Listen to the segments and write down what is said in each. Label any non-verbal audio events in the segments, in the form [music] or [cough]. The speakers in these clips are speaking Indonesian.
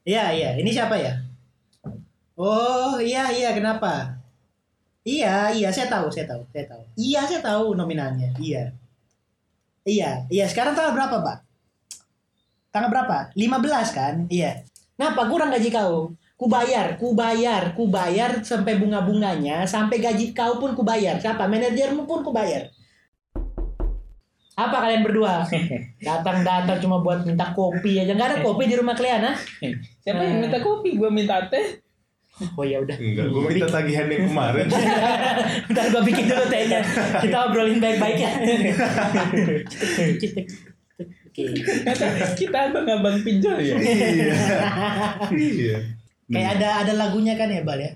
Iya, iya. Ini siapa ya? Oh, iya, iya. Kenapa? Iya, iya. Saya tahu, saya tahu, saya tahu. Iya, saya tahu nominalnya. Iya. Iya, iya. Sekarang tanggal berapa, Pak? Tanggal berapa? 15 kan? Iya. Kenapa kurang gaji kau? Kubayar, kubayar, kubayar sampai bunga-bunganya, sampai gaji kau pun kubayar. Siapa? Manajermu pun kubayar. Apa kalian berdua? Datang-datang cuma buat minta kopi aja. Nggak ada kopi di rumah kalian, ah? Siapa yang minta kopi? Gua minta teh. Oh ya udah. [laughs] Enggak, gue minta tagihan yang kemarin. Bentar gua bikin dulu tehnya. Kita obrolin baik-baik ya. [laughs] Oke. Kata kita abang-abang pinjol ya. iya. Iya. Kayak ada ada lagunya kan ya Bal ya.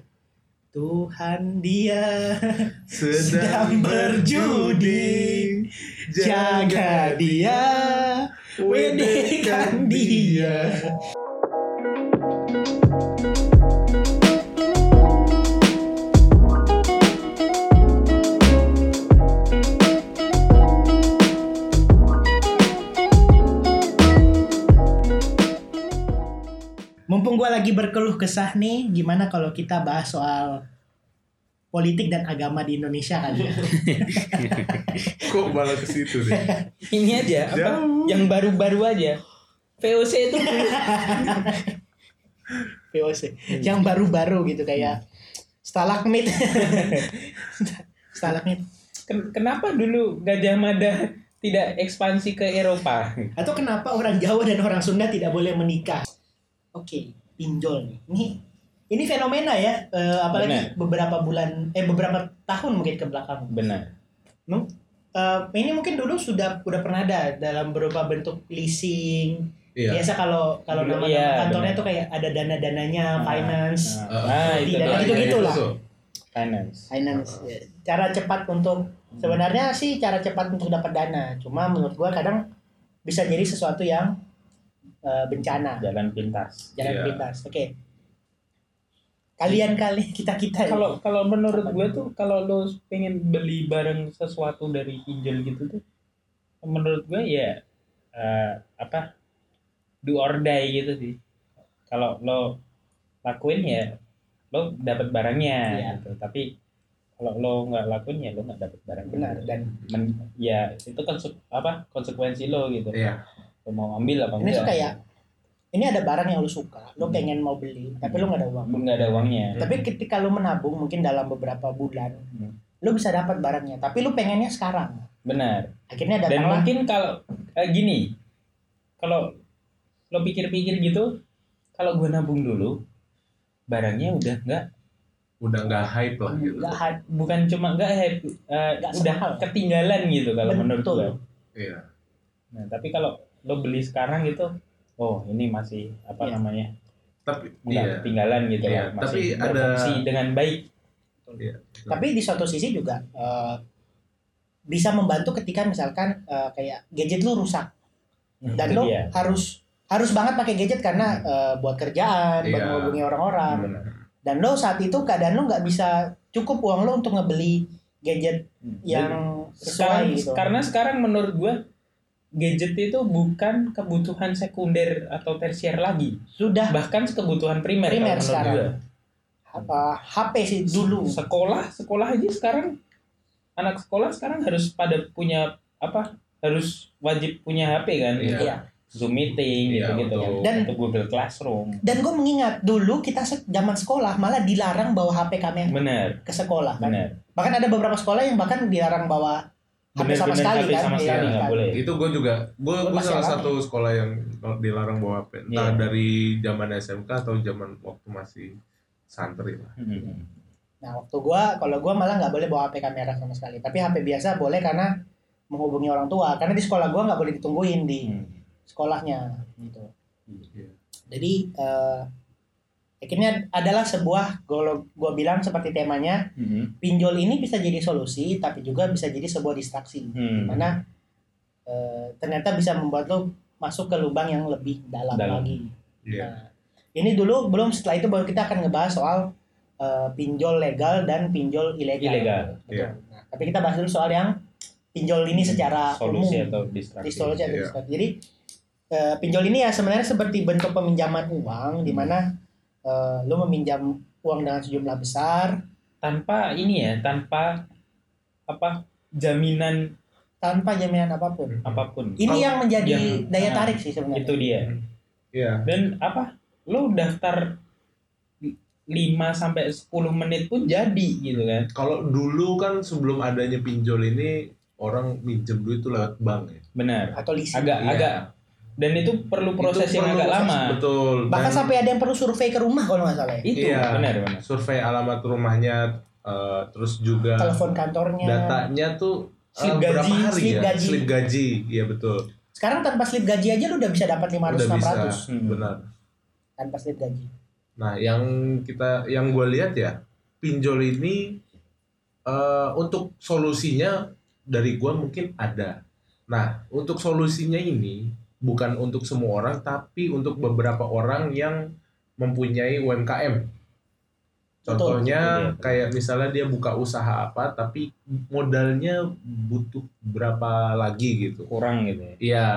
Tuhan dia sedang berjudi. Jaga dia. Wedekan dia. Mumpung gua lagi berkeluh kesah nih, gimana kalau kita bahas soal politik dan agama di Indonesia kali ya? Kok malah ke situ sih? Ini aja apa? Jauh. Yang baru-baru aja. VOC itu VOC Hmm. yang baru-baru gitu kayak [laughs] stalagmit stalagmit Ken- kenapa dulu Gajah Mada tidak ekspansi ke Eropa? atau kenapa orang Jawa dan orang Sunda tidak boleh menikah oke pinjol nih ini ini fenomena ya eh, apalagi beberapa bulan eh beberapa tahun mungkin ke belakang Benar. Hmm? Mem- eh, ini mungkin dulu sudah udah pernah ada dalam berupa bentuk leasing Iya. biasa kalau kalau nama Dulu, iya, kantornya benar. Ah, tuh kayak ada dana dananya finance Ah, Nah, nah, itu Tidak, doang. itu gitu. lah. Masuk. Finance. finance ya. cara cepat untuk sebenarnya sih cara cepat untuk dapat dana cuma menurut gua kadang bisa jadi sesuatu yang eh, bencana Jalan pintas. jalan Iya. pintas oke kalian [laughs] kali kita kita Kalau kalau menurut gue tuh kalau lo pengen beli barang sesuatu dari pinjol gitu tuh, menurut gue ya eh, apa do or die gitu sih. Kalau lo lakuin ya lo dapat barangnya Iya. gitu. Tapi kalau lo nggak lakuin ya lo nggak dapat barang. benar dan Men- ya itu kan se- apa konsekuensi lo gitu. Iya. Lo mau ambil apa ini enggak? tuh kayak ini ada barang yang lu suka Hmm. lu pengen mau beli tapi lu nggak ada uang Lo nggak ada uangnya. tapi ketika lu menabung mungkin dalam beberapa bulan Hmm. lu bisa dapat barangnya tapi lu pengennya sekarang Benar. akhirnya dan datanglah mungkin kalau eh, gini kalau lo pikir-pikir gitu kalau gue nabung dulu barangnya udah nggak Udah nggak hype lah gitu. nggak had- bukan cuma nggak happy eh, Nggak udah semahal. ketinggalan gitu kalau menurut Betul. gue Iya. nah tapi kalau lo beli sekarang gitu oh ini masih apa Iya. namanya Tapi nggak iya. ketinggalan gitu Iya, lah masih tapi ada- berfungsi dengan baik Hmm. tapi di suatu sisi juga eh, bisa membantu ketika misalkan eh, kayak gadget lu rusak dan Itu lu dia. harus harus banget pakai gadget karena eh, buat kerjaan buat Iya. menghubungi orang-orang Benar. dan lo saat itu keadaan lo nggak bisa cukup uang lo untuk ngebeli gadget Hmm. yang sekarang sesuai gitu karena sekarang menurut gue gadget itu bukan kebutuhan sekunder atau tersier lagi sudah bahkan kebutuhan primer Primer kalau menurut sekarang. Iya. gua. apa HP sih dulu sekolah sekolah aja sekarang anak sekolah sekarang harus pada punya apa harus wajib punya HP kan Iya. Iya. Zoom meeting Iya, gitu gitu betul. Dan- atau Google Classroom dan gue mengingat dulu kita se- zaman sekolah malah dilarang bawa HP kami benar ke sekolah kan benar bahkan ada beberapa sekolah yang bahkan dilarang bawa HP sama Benar-benar sekali HP kan sama Iya, sekali kan? nggak boleh itu gue juga gue Lu gue masih salah alami. satu sekolah yang dilarang bawa HP entah Iya. dari zaman SMK atau zaman waktu masih santri lah Hmm. Nah, waktu gua kalau gua malah nggak boleh bawa HP kamera sama sekali. Tapi HP biasa boleh karena menghubungi orang tua. Karena di sekolah gua nggak boleh ditungguin di Hmm. sekolahnya Iya, gitu. Iya. Jadi eh, akhirnya adalah sebuah kalau gua bilang seperti temanya Hmm. pinjol ini bisa jadi solusi tapi juga bisa jadi sebuah distraksi. Hmm. Karena eh, ternyata bisa membuat lo masuk ke lubang yang lebih dalam, Dalam. lagi. Iya. Nah, ini dulu belum setelah itu baru kita akan ngebahas soal eh, pinjol legal dan pinjol ilegal. Ilegal, Betul. iya. Nah, tapi kita bahas dulu soal yang pinjol ini secara Hmm, solusi umum. atau distraksi Di solusi atau Iya. distraksi. Jadi eh, pinjol ini ya sebenarnya seperti bentuk peminjaman uang di mana eh, lo meminjam uang dengan sejumlah besar tanpa ini ya tanpa apa jaminan tanpa jaminan apapun. apapun Ini Kalau- yang menjadi yang- daya nah, tarik sih sebenarnya. itu dia Iya. dan apa lu daftar 5 sampai 10 menit pun jadi gitu kan Kalau dulu kan sebelum adanya pinjol ini orang minjem duit tuh lewat bank ya. benar Atau leasing. agak Iya. agak dan itu perlu proses Itu yang perlu agak proses, lama Betul. Bahkan Dan sampai ada yang perlu survei ke rumah kalau nggak salah. ya. itu Iya. benar benar survei alamat rumahnya eh, terus juga Telepon kantornya. datanya tuh eh, Slip berapa gaji, hari slip ya? gaji. Slip gaji. Iya betul. Sekarang tanpa slip gaji aja lu udah bisa dapat 500 Udah bisa. 600 Hmm. Benar. tanpa slip gaji. Nah, yang kita yang gue lihat ya, pinjol ini eh, untuk solusinya dari gue mungkin ada. Nah, untuk solusinya ini bukan untuk semua orang, tapi untuk beberapa orang yang mempunyai UMKM. Contohnya Betul. kayak misalnya dia buka usaha apa, tapi modalnya butuh berapa lagi gitu. kurang gitu ya Iya.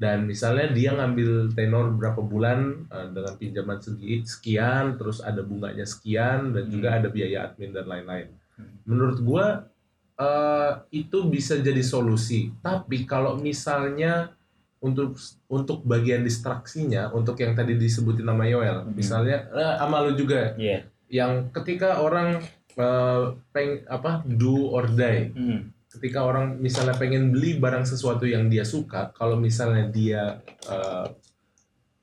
Dan misalnya dia ngambil tenor berapa bulan eh, dengan pinjaman segi sekian, terus ada bunganya sekian, dan Hmm. juga ada biaya admin dan lain-lain. Hmm. Menurut gua eh, itu bisa jadi solusi. Tapi kalau misalnya untuk untuk bagian distraksinya, untuk yang tadi disebutin nama Yoel, Hmm. misalnya eh, sama lu juga, iya yang ketika orang eh, peng apa do or die, Hmm. ketika orang misalnya pengen beli barang sesuatu yang dia suka kalau misalnya dia eh,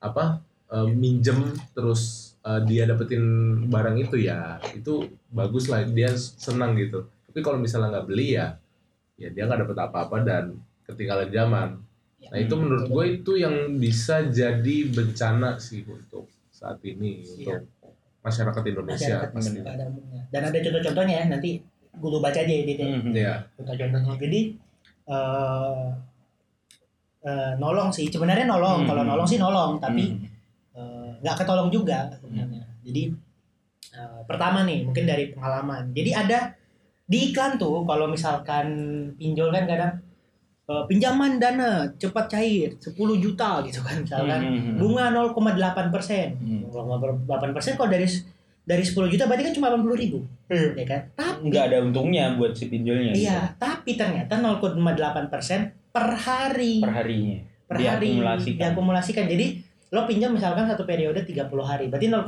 apa eh, minjem terus eh, dia dapetin barang itu ya itu bagus lah dia senang gitu tapi kalau misalnya nggak beli ya ya dia nggak dapet apa-apa dan ketinggalan zaman nah Ya, itu menurut gue itu yang bisa jadi bencana sih untuk saat ini untuk masyarakat Indonesia Iya. Masyarakat pasti pada umumnya. Dan ada contoh-contohnya ya, nanti guru baca aja ya, Dede. Hmm. ya contoh-contohnya. Jadi eh eh, nolong sih, sebenarnya nolong. Hmm. Kalau nolong sih nolong, tapi Hmm. eh, nggak ketolong juga sebenarnya. Jadi eh, pertama nih, mungkin dari pengalaman. Jadi ada di iklan tuh, kalau misalkan pinjol kan kadang eh, pinjaman dana cepat cair 10 juta gitu kan misalkan. Hmm, hmm, hmm. bunga 0,8 persen. Hmm. 0,8 persen kalau dari dari 10 juta berarti kan cuma 80 ribu, ya kan? Tapi nggak ada untungnya buat si pinjolnya gitu. iya, tapi ternyata 0,8 persen per hari per, perharinya hari diakumulasikan. diakumulasikan. Jadi lo pinjam misalkan satu periode 30 hari, berarti 0,8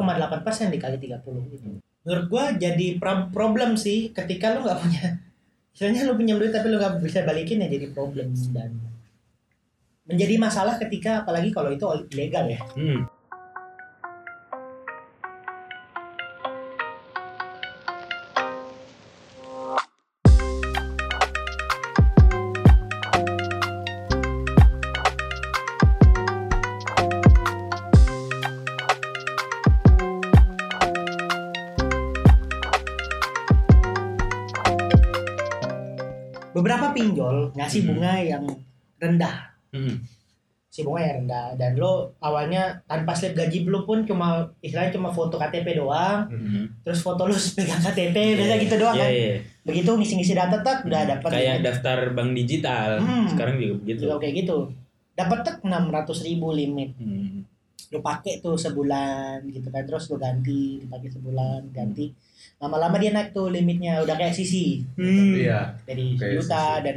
persen dikali 30 gitu. Menurut gua jadi pra- problem sih ketika lo nggak punya, misalnya lo pinjam duit tapi lo nggak bisa balikin ya jadi problem dan menjadi masalah ketika apalagi kalau itu ilegal ya. Hmm. beberapa pinjol ngasih Mhm. bunga yang rendah Hmm. si bunga yang rendah dan lo awalnya tanpa slip gaji belum pun cuma istilahnya cuma foto KTP doang Hmm. terus foto lo [laughs] pegang KTP biasa Iya. gitu doang Iya, kan iya. begitu ngisi-ngisi data tak udah dapat kayak daftar bank digital Hmm. sekarang juga begitu juga kayak gitu dapat tak enam ribu limit Hmm. lo pakai tuh sebulan gitu kan terus lo ganti dipakai sebulan ganti lama-lama dia naik tuh limitnya udah kayak sisi Hmm. iya dari Oke, juta sisi. dan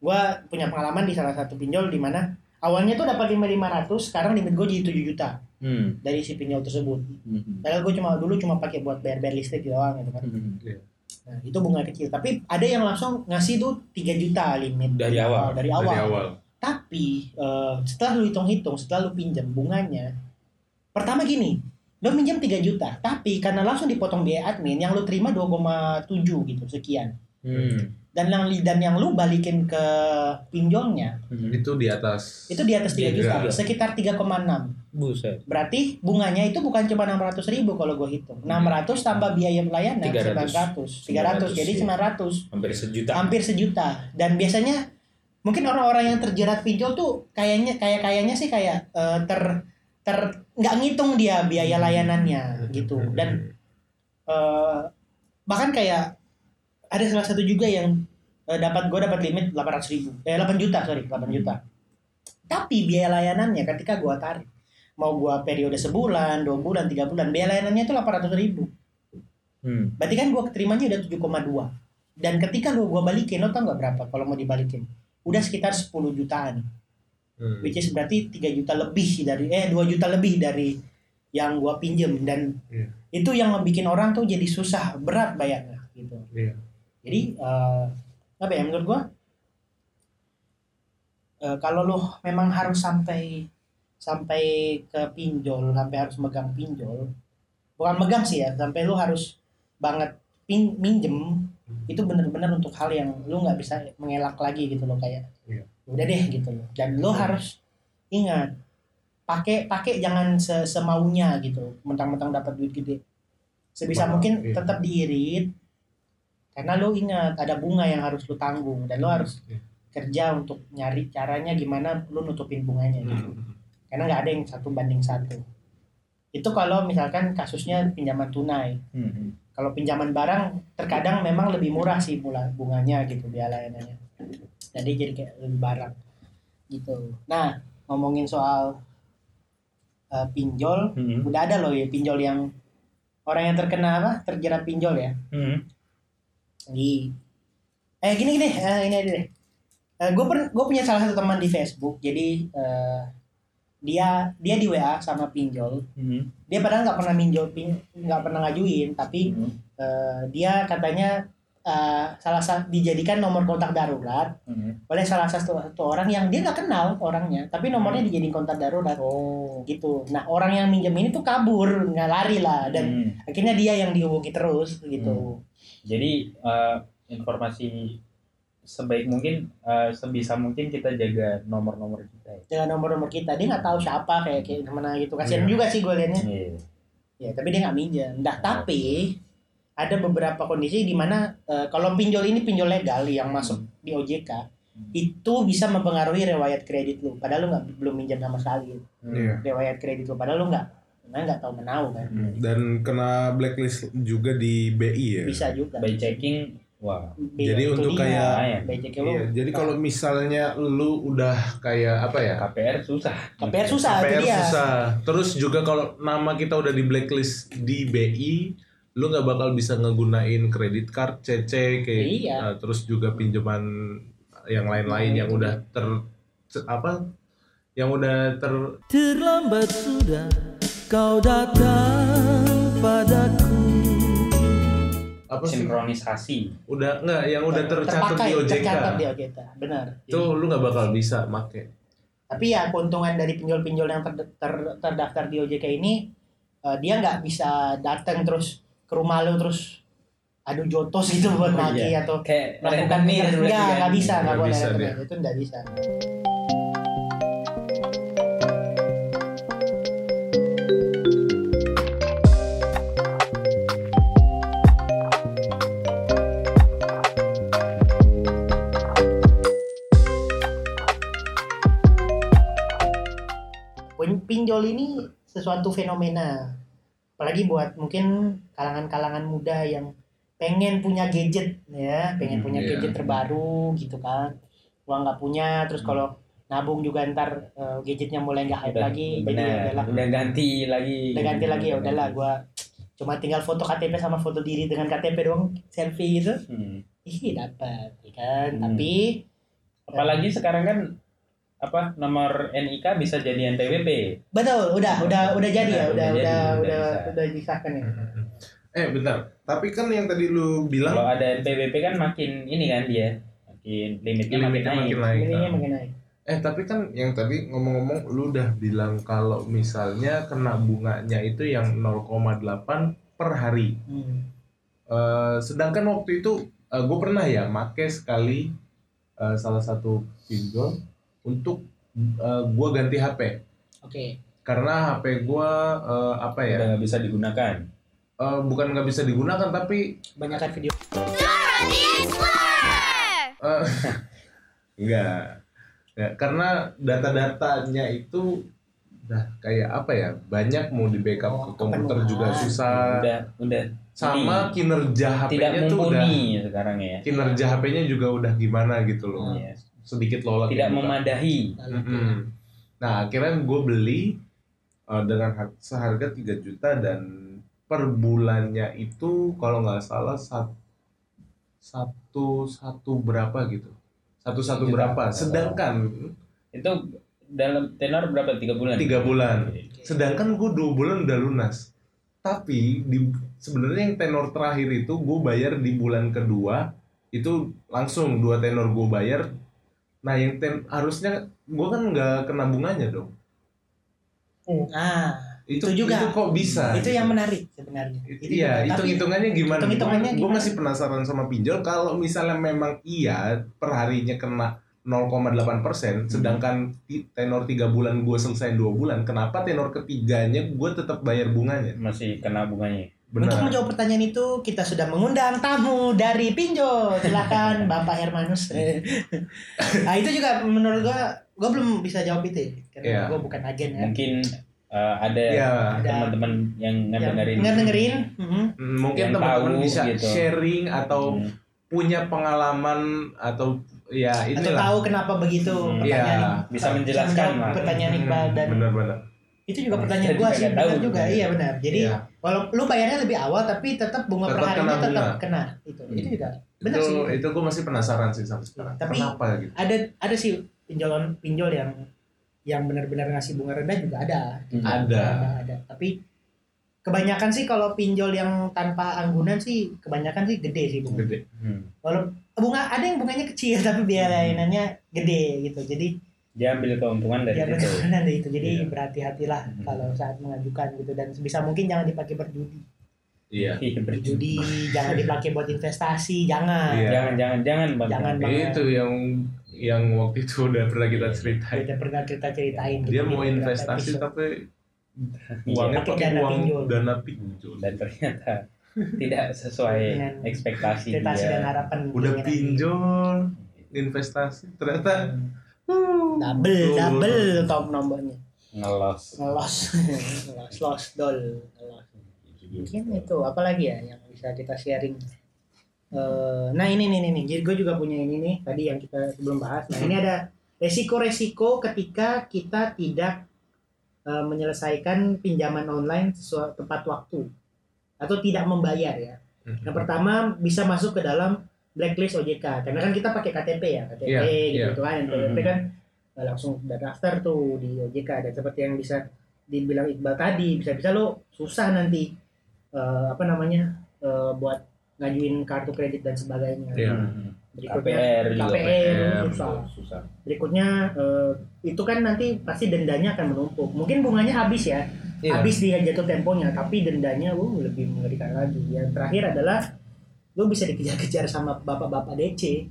gua punya pengalaman di salah satu pinjol di mana awalnya tuh dapat lima lima ratus sekarang limit gue jadi 7 juta Hmm. dari si pinjol tersebut Hmm. padahal gue cuma dulu cuma pakai buat bayar bayar listrik doang gitu kan Hmm. nah, itu bunga kecil tapi ada yang langsung ngasih tuh 3 juta limit Nah, Dari awal. dari awal, dari awal tapi eh, setelah lu hitung hitung setelah lu pinjam bunganya pertama gini lo minjam 3 juta tapi karena langsung dipotong biaya admin yang lu terima 2,7 gitu sekian Hmm. dan yang dan yang lu balikin ke pinjolnya Hmm. itu di atas itu di atas 3 juta Tiga. sekitar 3,6 buset berarti bunganya itu bukan cuma 600 ribu kalau gue hitung 600 tambah biaya pelayanan 900 300. 300 jadi 900 900, hampir sejuta hampir sejuta dan biasanya mungkin orang-orang yang terjerat pinjol tuh kayaknya kayak kayaknya sih kayak eh, ter ter nggak ngitung dia biaya layanannya gitu dan eh bahkan kayak ada salah satu juga yang eh, dapat gue dapat limit 800 ribu eh 8 juta sorry 8 juta Tapi biaya layanannya ketika gua tarik mau gua periode sebulan, dua bulan, tiga bulan, biaya layanannya itu 800 ribu. Hmm. Berarti kan gua keterimanya udah 7,2. Dan ketika lu gua balikin, lo tau nggak berapa kalau mau dibalikin? Udah sekitar 10 jutaan. Hmm. Which is berarti 3 juta lebih dari eh 2 juta lebih dari yang gua pinjem dan Iya. itu yang bikin orang tuh jadi susah, berat bayarnya gitu. Iya. Jadi eh, apa ya menurut gua eh, kalau lo memang harus sampai sampai ke pinjol, sampai harus megang pinjol, bukan megang sih ya, sampai lu harus banget pin, minjem itu bener-bener untuk hal yang lu nggak bisa mengelak lagi gitu loh kayak Iya. udah deh gitu loh dan lu harus ingat pakai pakai jangan se- semaunya gitu mentang-mentang dapat duit gede sebisa Mahal, mungkin iya. tetap diirit karena lu ingat ada bunga yang harus lu tanggung dan lu harus Iya. kerja untuk nyari caranya gimana lu nutupin bunganya gitu Hmm. karena nggak ada yang satu banding satu itu kalau misalkan kasusnya pinjaman tunai Hmm. kalau pinjaman barang terkadang memang lebih murah sih pula bunganya gitu biaya layanannya jadi jadi kayak lebih barang gitu nah ngomongin soal eh, pinjol Hmm. udah ada loh ya pinjol yang orang yang terkena apa terjerat pinjol ya Hmm. di eh gini gini eh, ini aja deh Eh, gue gue punya salah satu teman di Facebook jadi eh, dia dia di WA sama pinjol Hmm. dia padahal nggak pernah minjol pin- nggak pernah ngajuin tapi hmm, Eh, dia katanya eh, salah satu dijadikan nomor kontak darurat Hmm. oleh salah satu, satu orang yang dia nggak kenal orangnya tapi nomornya dijadiin kontak darurat Hmm. Oh. gitu nah orang yang minjem ini tuh kabur nggak lari lah dan Hmm. akhirnya dia yang dihubungi terus gitu Jadi eh, informasi sebaik mungkin eh, sebisa mungkin kita jaga nomor-nomor kita ya. dengan nomor-nomor kita dia nggak tahu siapa kayak kayak mana gitu kasihan Iya. juga sih gue liatnya Iya. ya tapi dia nggak minjem nah tapi ada beberapa kondisi di mana eh, kalau pinjol ini pinjol legal yang masuk di OJK Hmm. itu bisa mempengaruhi riwayat kredit lu padahal lu nggak belum minjam sama sekali Hmm. Iya. riwayat kredit lu padahal lu nggak karena nggak tahu menau kan Hmm. Iya. Dan kena blacklist juga di BI ya. bisa juga By checking, wah. Iya, Jadi itu untuk dia. kayak- Lumayan. Becek lu Iya, jadi kalau misalnya lu udah kayak apa ya? KPR susah. Gitu. KPR susah itu PR dia susah. Terus juga kalau nama kita udah di blacklist di BI, lu nggak bakal bisa ngegunain kredit card, CC kayak Iya. nah, terus juga pinjaman yang lain-lain yang udah ter ce- apa? Yang udah ter Terlambat sudah kau datang padaku apa sih? Sinkronisasi. Udah nggak yang udah tercatat terpakai di OJK. tercatat di OJK benar Itu lu nggak bakal bisa make. tapi ya keuntungan dari pinjol-pinjol yang ter- ter- terdaftar di OJK ini eh, dia nggak bisa datang terus ke rumah lu terus adu jotos gitu buat Oh, nagih iya. atau Kayak melakukan rentenir pekerjaan. berarti nggak kan? nggak bisa nggak Nggak boleh bisa dia. rentenir. itu nggak bisa Pin- pinjol ini sesuatu fenomena apalagi buat mungkin kalangan-kalangan muda yang pengen punya gadget ya pengen Hmm, punya iya. gadget terbaru gitu kan uang nggak punya terus kalau nabung juga ntar eh, gadgetnya mulai nggak hype Hmm. Udah, lagi jadi ya benar. Hmm, iya, udahlah udah ganti lagi. udah ganti lagi ya udahlah gua cuma tinggal foto KTP sama foto diri dengan KTP doang selfie gitu Hmm. ih dapat ya kan Hmm. tapi eh, Apalagi sekarang kan apa nomor NIK bisa jadi NTWP. betul udah udah udah jadi ya Hmm. udah Udah, udah udah jadi, udah udah bisa. udah disahkan ya Eh bentar, tapi kan yang tadi lu Kalau bilang ada NPWP kan makin ini kan dia, makin limitnya makin limitnya naik. ah. makin naik. ininya Nah. mengenai Eh tapi kan yang tadi ngomong-ngomong lu udah bilang kalau misalnya kena bunganya itu yang 0,8 per hari. Hmm. Eh, sedangkan waktu itu gue pernah ya make sekali eh, salah satu pinjol untuk eh, gua ganti HP oke karena HP gua eh, apa ya Udah nggak bisa digunakan. eh, bukan nggak bisa digunakan tapi banyakkan video eh, [laughs] nggak Ya, karena data-datanya itu udah kayak apa ya banyak mau di backup Oh, ke komputer kepenuhan. juga susah Udah udah sama kinerja tidak Ah, HP-nya tuh udah mumpuni sekarang ya. kinerja HP-nya juga udah gimana gitu loh Iya. sedikit lola gitu. Tidak memadahi. Lalu Mm-mm. Nah akhirnya gue beli eh, dengan har- seharga 3 juta dan per bulannya itu kalau nggak salah sat- satu satu berapa gitu satu satu Juta. berapa sedangkan Itu dalam tenor berapa? Tiga bulan. tiga bulan Oke. sedangkan gue dua bulan udah lunas tapi di sebenarnya yang tenor terakhir itu gue bayar di bulan kedua itu langsung dua tenor gue bayar nah yang ten harusnya gue kan nggak kena bunganya dong Nah, itu, Itu juga. itu kok bisa itu yang menarik sebenarnya. Itu Itu Ah, gitu. iya juga. hitung Tapi- hitungannya gimana hitung-hitungannya gue gimana? masih penasaran sama pinjol kalau misalnya memang iya perharinya kena 0,8 persen Hmm. sedangkan ti- tenor tiga bulan gue selesai dua bulan kenapa tenor ketiganya gue tetap bayar bunganya Masih kena bunganya. Untuk benar menjawab pertanyaan itu, kita sudah mengundang tamu dari Pinjo. [laughs] Silakan Bapak Hermanus. nah, itu juga menurut gua gua belum bisa jawab itu ya, karena Iya. gua bukan agen ya. Mungkin eh, ada Iya. teman-teman yang ngedengerin. Nggak dengerin? Mhm. Mm, mungkin Yang teman-teman tahu bisa gitu. sharing atau Hmm. punya pengalaman atau ya Atau itulah tahu kenapa begitu Hmm, pertanyaan iya. Hmm, Iqbal. Bisa menjelaskan, menjawab Mak. pertanyaan Iqbal dan benar-benar itu juga Saya pertanyaan juga gua sih nggak benar tahu. juga iya benar jadi Iya. walau lu bayarnya lebih awal tapi tetap bunga Tetap perharinya kena tetap bunga. kena itu itu Hmm. juga benar itu sih itu gue masih penasaran sih sampai sekarang Tapi- kenapa gitu ada ada sih pinjolan pinjol yang yang benar-benar ngasih bunga rendah juga ada. Hmm. Ada. ada ada tapi kebanyakan sih kalau pinjol yang tanpa anggunan sih kebanyakan sih gede sih bunga gede Hmm. walau bunga ada yang bunganya kecil [laughs] tapi Hmm. biayainannya gede gitu jadi Dia ambil keuntungan dari ya situ. [laughs] benar dari itu jadi Iya. berhati-hatilah Hmm. Mhm. kalau saat mengajukan gitu dan sebisa mungkin jangan dipakai berjudi iya Iya, berjudi. berjudi jangan dipakai buat investasi jangan Iya. Jangan, jangan, jangan, Bang. Jangan. banget. Iya. itu yang yang waktu itu udah pernah kita ceritain kita pernah cerita ceritain Iya. gitu dia mau investasi tapi uangnya Pakai pakai dana uang Iya. pinjol. dana pinjol Iya. Dan ternyata tidak sesuai Dengan ekspektasi investasi dia. dan harapan iya. udah keinginan. pinjol investasi ternyata double Tuh. double top nomornya Ngelos. ngelos ngelos los dol ngelos mungkin itu apalagi ya yang bisa kita sharing Eh, nah ini nih nih nih jadi gue juga punya ini nih tadi yang kita sebelum bahas nah ini ada resiko-resiko ketika kita tidak eh, menyelesaikan pinjaman online sesuai tepat waktu atau tidak membayar ya yang pertama bisa masuk ke dalam blacklist OJK karena kan kita pakai KTP ya KTP Iya, gitu iya. kan KTP kan eh, langsung udah daftar tuh di OJK dan seperti yang bisa dibilang Iqbal tadi bisa-bisa lo susah nanti eh, apa namanya eh, buat ngajuin kartu kredit dan sebagainya Iya. Hmm. berikutnya KPR juga. KPR susah Susah. Oh, Susah. berikutnya eh, itu kan nanti pasti dendanya akan menumpuk mungkin bunganya habis ya Iya. habis dia jatuh temponya tapi dendanya uh lebih mengerikan lagi yang terakhir adalah lu bisa dikejar-kejar sama bapak-bapak DC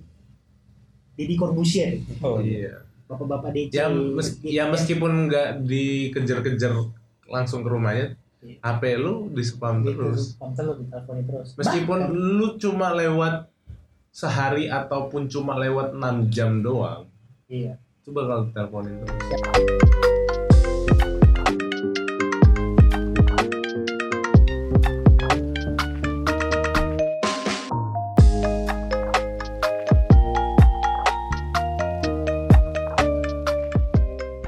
Deddy Corbusier Oh, iya. iya bapak-bapak Gitu DC ya, mes- Deddy- ya meskipun nggak dikejar-kejar langsung ke rumahnya Iya. HP lu di spam Deddy terus Corbusier, lu Gitu. diteleponin terus meskipun Bahkan, lu cuma lewat sehari ataupun cuma lewat 6 jam doang iya itu bakal teleponin terus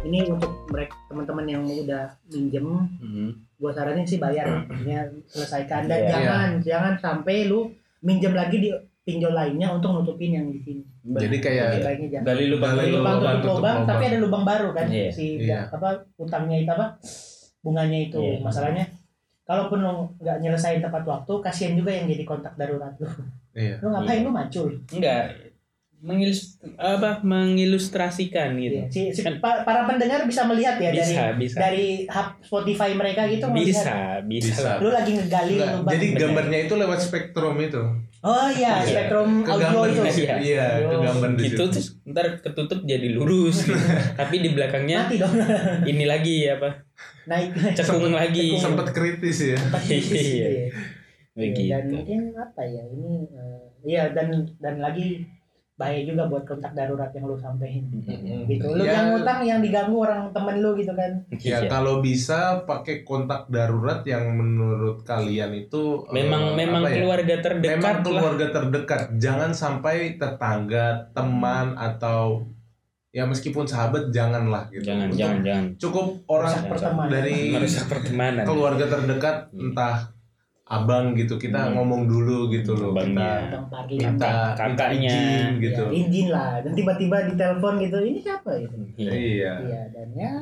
ini untuk mereka teman-teman yang udah minjem Hmm. gua saranin sih bayar ya selesaikan dan Iya. jangan jangan sampai lu minjem lagi di pinjol lainnya untuk nutupin yang di sini jadi kayak Lebih baiknya jangan Gali Iya, lubang Gali Gali dulu. lubang lubang, tutup tutup lubang, lubang. tapi ada lubang baru kan Iya. si Iya. apa utangnya itu apa bunganya itu Iya. masalahnya kalaupun lo nggak nyelesain tepat waktu kasihan juga yang jadi kontak darurat lo iya lo ngapain Iya. lo macul Enggak. Mengilus apa mengilustrasikan gitu. Iya. si, si- Kan- pa- para pendengar bisa melihat ya Bisa, bisa. dari dari hub Spotify mereka gitu bisa, bisa. Bisa. lo lagi ngegali Nggak, lubang jadi Benar. gambarnya itu lewat spektrum itu oh iya Iya. spektrum audio kegambar itu di situ. Iya. iya Audio. kegambar di Gitu situ terus ntar ketutup jadi lurus gitu. Tapi di belakangnya mati dong [laughs] ini lagi apa? naik Cekung lagi. cekung. sempat kritis ya Iya. gitu. Iya, Dan Begitu. mungkin apa ya ini eh, iya dan dan lagi bahaya juga buat kontak darurat yang lu sampein Mm-hmm. gitu. Lu Ya, yang utang yang diganggu orang temen lu gitu kan. ya Iya. kalau bisa pakai kontak darurat yang menurut kalian itu eh, Memang memang apa ya? keluarga memang terdekat lah. Hmm. keluarga terdekat jangan sampai tetangga teman atau ya meskipun sahabat janganlah gitu jangan Untuk- jangan jangan cukup orang Merusak pertemanan. dari merusak pertemanan keluarga terdekat Hmm. entah abang gitu kita Hmm. ngomong dulu gitu loh Abangnya. Bang Parli. kita minta minta Kakaknya. izin gitu Ya, izin lah. Dan tiba-tiba ditelepon gitu, ini siapa gitu. Iya. iya Iya, dan ya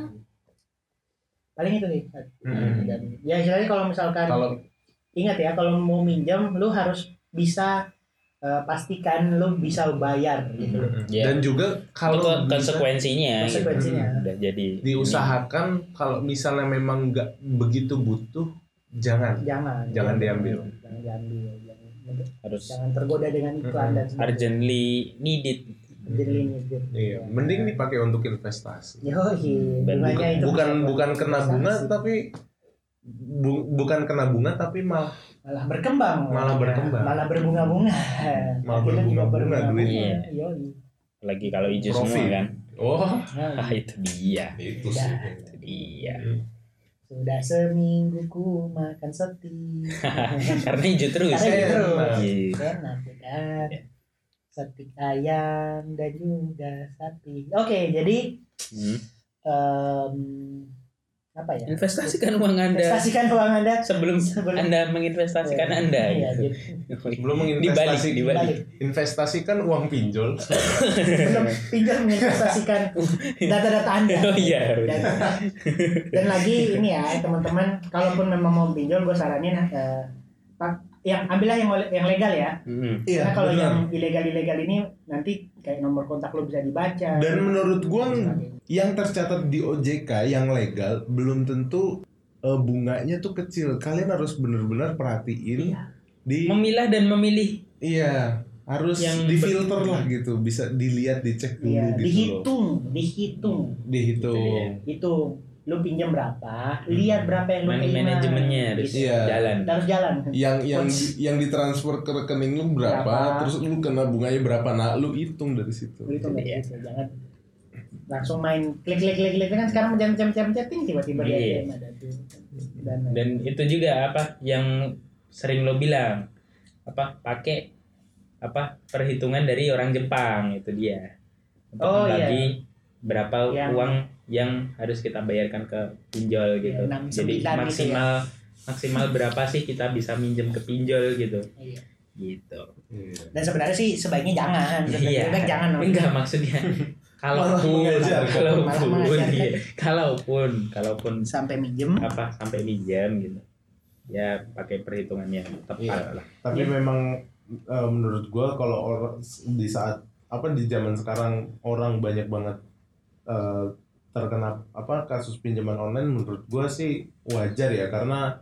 paling itu nih. Mm-mm. Dan ya istilahnya kalau misalkan Mm-hmm. kalau ingat ya kalau mau minjam lu harus bisa eh, pastikan lu bisa bayar Mm-hmm. gitu. Iya. dan juga Itu kalau bisa konsekuensinya gitu. Konsekuensinya. Udah jadi diusahakan kalau misalnya memang nggak begitu butuh jangan Jangan. Mm-hmm. Jangan diambil. Jangan diambil. Jangan, ini harus jangan tergoda dengan iklan Mm-mm. dan sebagainya. urgently needed Jadi ini gitu. iya mending dipakai untuk investasi Yoi, Dan bunganya bukan itu bukan, bisa bukan kena bunga investasi. tapi bu- bukan kena bunga tapi malah malah berkembang Iya. Malah berkembang. malah berbunga-bunga Malah Akhirnya juga berbunga-bunga berbunga-bunga. Iya. Yoi. lagi kalau hijau semua Profit. kan oh Hmm. ah itu dia itu Ya. sih Hmm. itu Iya. dia sudah seminggu ku makan [laughs] seti karena hijau terus Karena hijau terus. Iya. enak ya kan Iya. sate ayam dan juga sapi oke jadi Hmm. em, apa ya investasikan uang anda investasikan uang anda sebelum Sebelum- anda menginvestasikan Iya. anda Iya, gitu. [laughs] jadi Sebelum dibalik menginvestasi- dibalik balik investasikan uang pinjol belum pinjam [laughs] menginvestasikan data-data anda Oh, iya. dan, dan lagi ini ya teman-teman kalaupun memang mau pinjol gue saranin eh, pak- yang ambillah yang yang legal ya Hmm. Mm-hmm. karena kalau Iya, benar. yang ilegal ilegal ini nanti kayak nomor kontak lo bisa dibaca dan menurut gua sebagainya. yang tercatat di OJK yang legal belum tentu eh, bunganya tuh kecil kalian harus bener-bener perhatiin Iya. di memilah dan memilih iya harus Yang difilter ber- lah gitu bisa dilihat dicek dulu Iya, gitu loh dihitung dihitung Iya. dihitung hitung lu pinjam berapa lihat berapa yang lu Man- terima. manajemennya harus Gitu. Iya. jalan harus jalan yang yang Once- yang ditransfer ke rekening lu berapa, Berapa? terus lu kena bunganya berapa nah lu hitung dari situ Lu hitung dari Iya. situ, jangan langsung main klik klik klik klik kan sekarang mencet mencet mencet mencet, ting, tiba-tiba di Iya. ATM ada tuh dan, dan itu juga apa yang sering lo bilang apa pakai apa perhitungan dari orang Jepang itu dia untuk Oh, iya. membagi berapa Yang- uang yang harus kita bayarkan ke pinjol Iya, gitu 69 jadi gitu ya. maksimal maksimal berapa sih kita bisa minjem ke pinjol gitu Iya. gitu Iya. dan sebenarnya sih sebaiknya jangan Iya. sebaiknya jangan enggak [laughs] maksudnya kalaupun Malah mengajar. Malah kalaupun mengajarkan. iya. kalaupun kalaupun sampai minjem apa sampai minjem gitu ya pakai perhitungan yang tepat lah tapi memang eh, menurut gua kalau orang di saat apa di zaman sekarang orang banyak banget eh, terkena apa kasus pinjaman online menurut gua sih wajar ya karena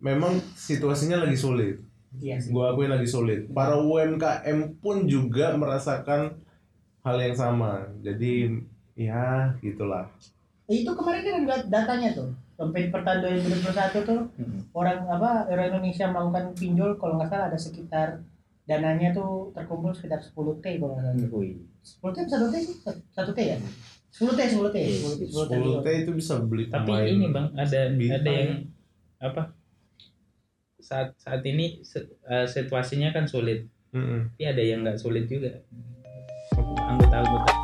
memang situasinya lagi sulit iya sih. gua akuin lagi sulit para UMKM pun juga merasakan hal yang sama jadi ya gitulah itu kemarin kan ada datanya tuh sampai pertahun 2021 tuh Hmm. orang apa orang Indonesia melakukan pinjol kalau nggak salah ada sekitar dananya tuh terkumpul sekitar 10 t kalau nggak salah Wih. 10 t atau satu t sih satu t ya 10 t 10 t 10 T itu bisa beli tapi pemain. ini bang ada bintang. ada yang apa saat saat ini se- eh, situasinya kan sulit Mm-mm. tapi ada yang nggak sulit juga anggota anggota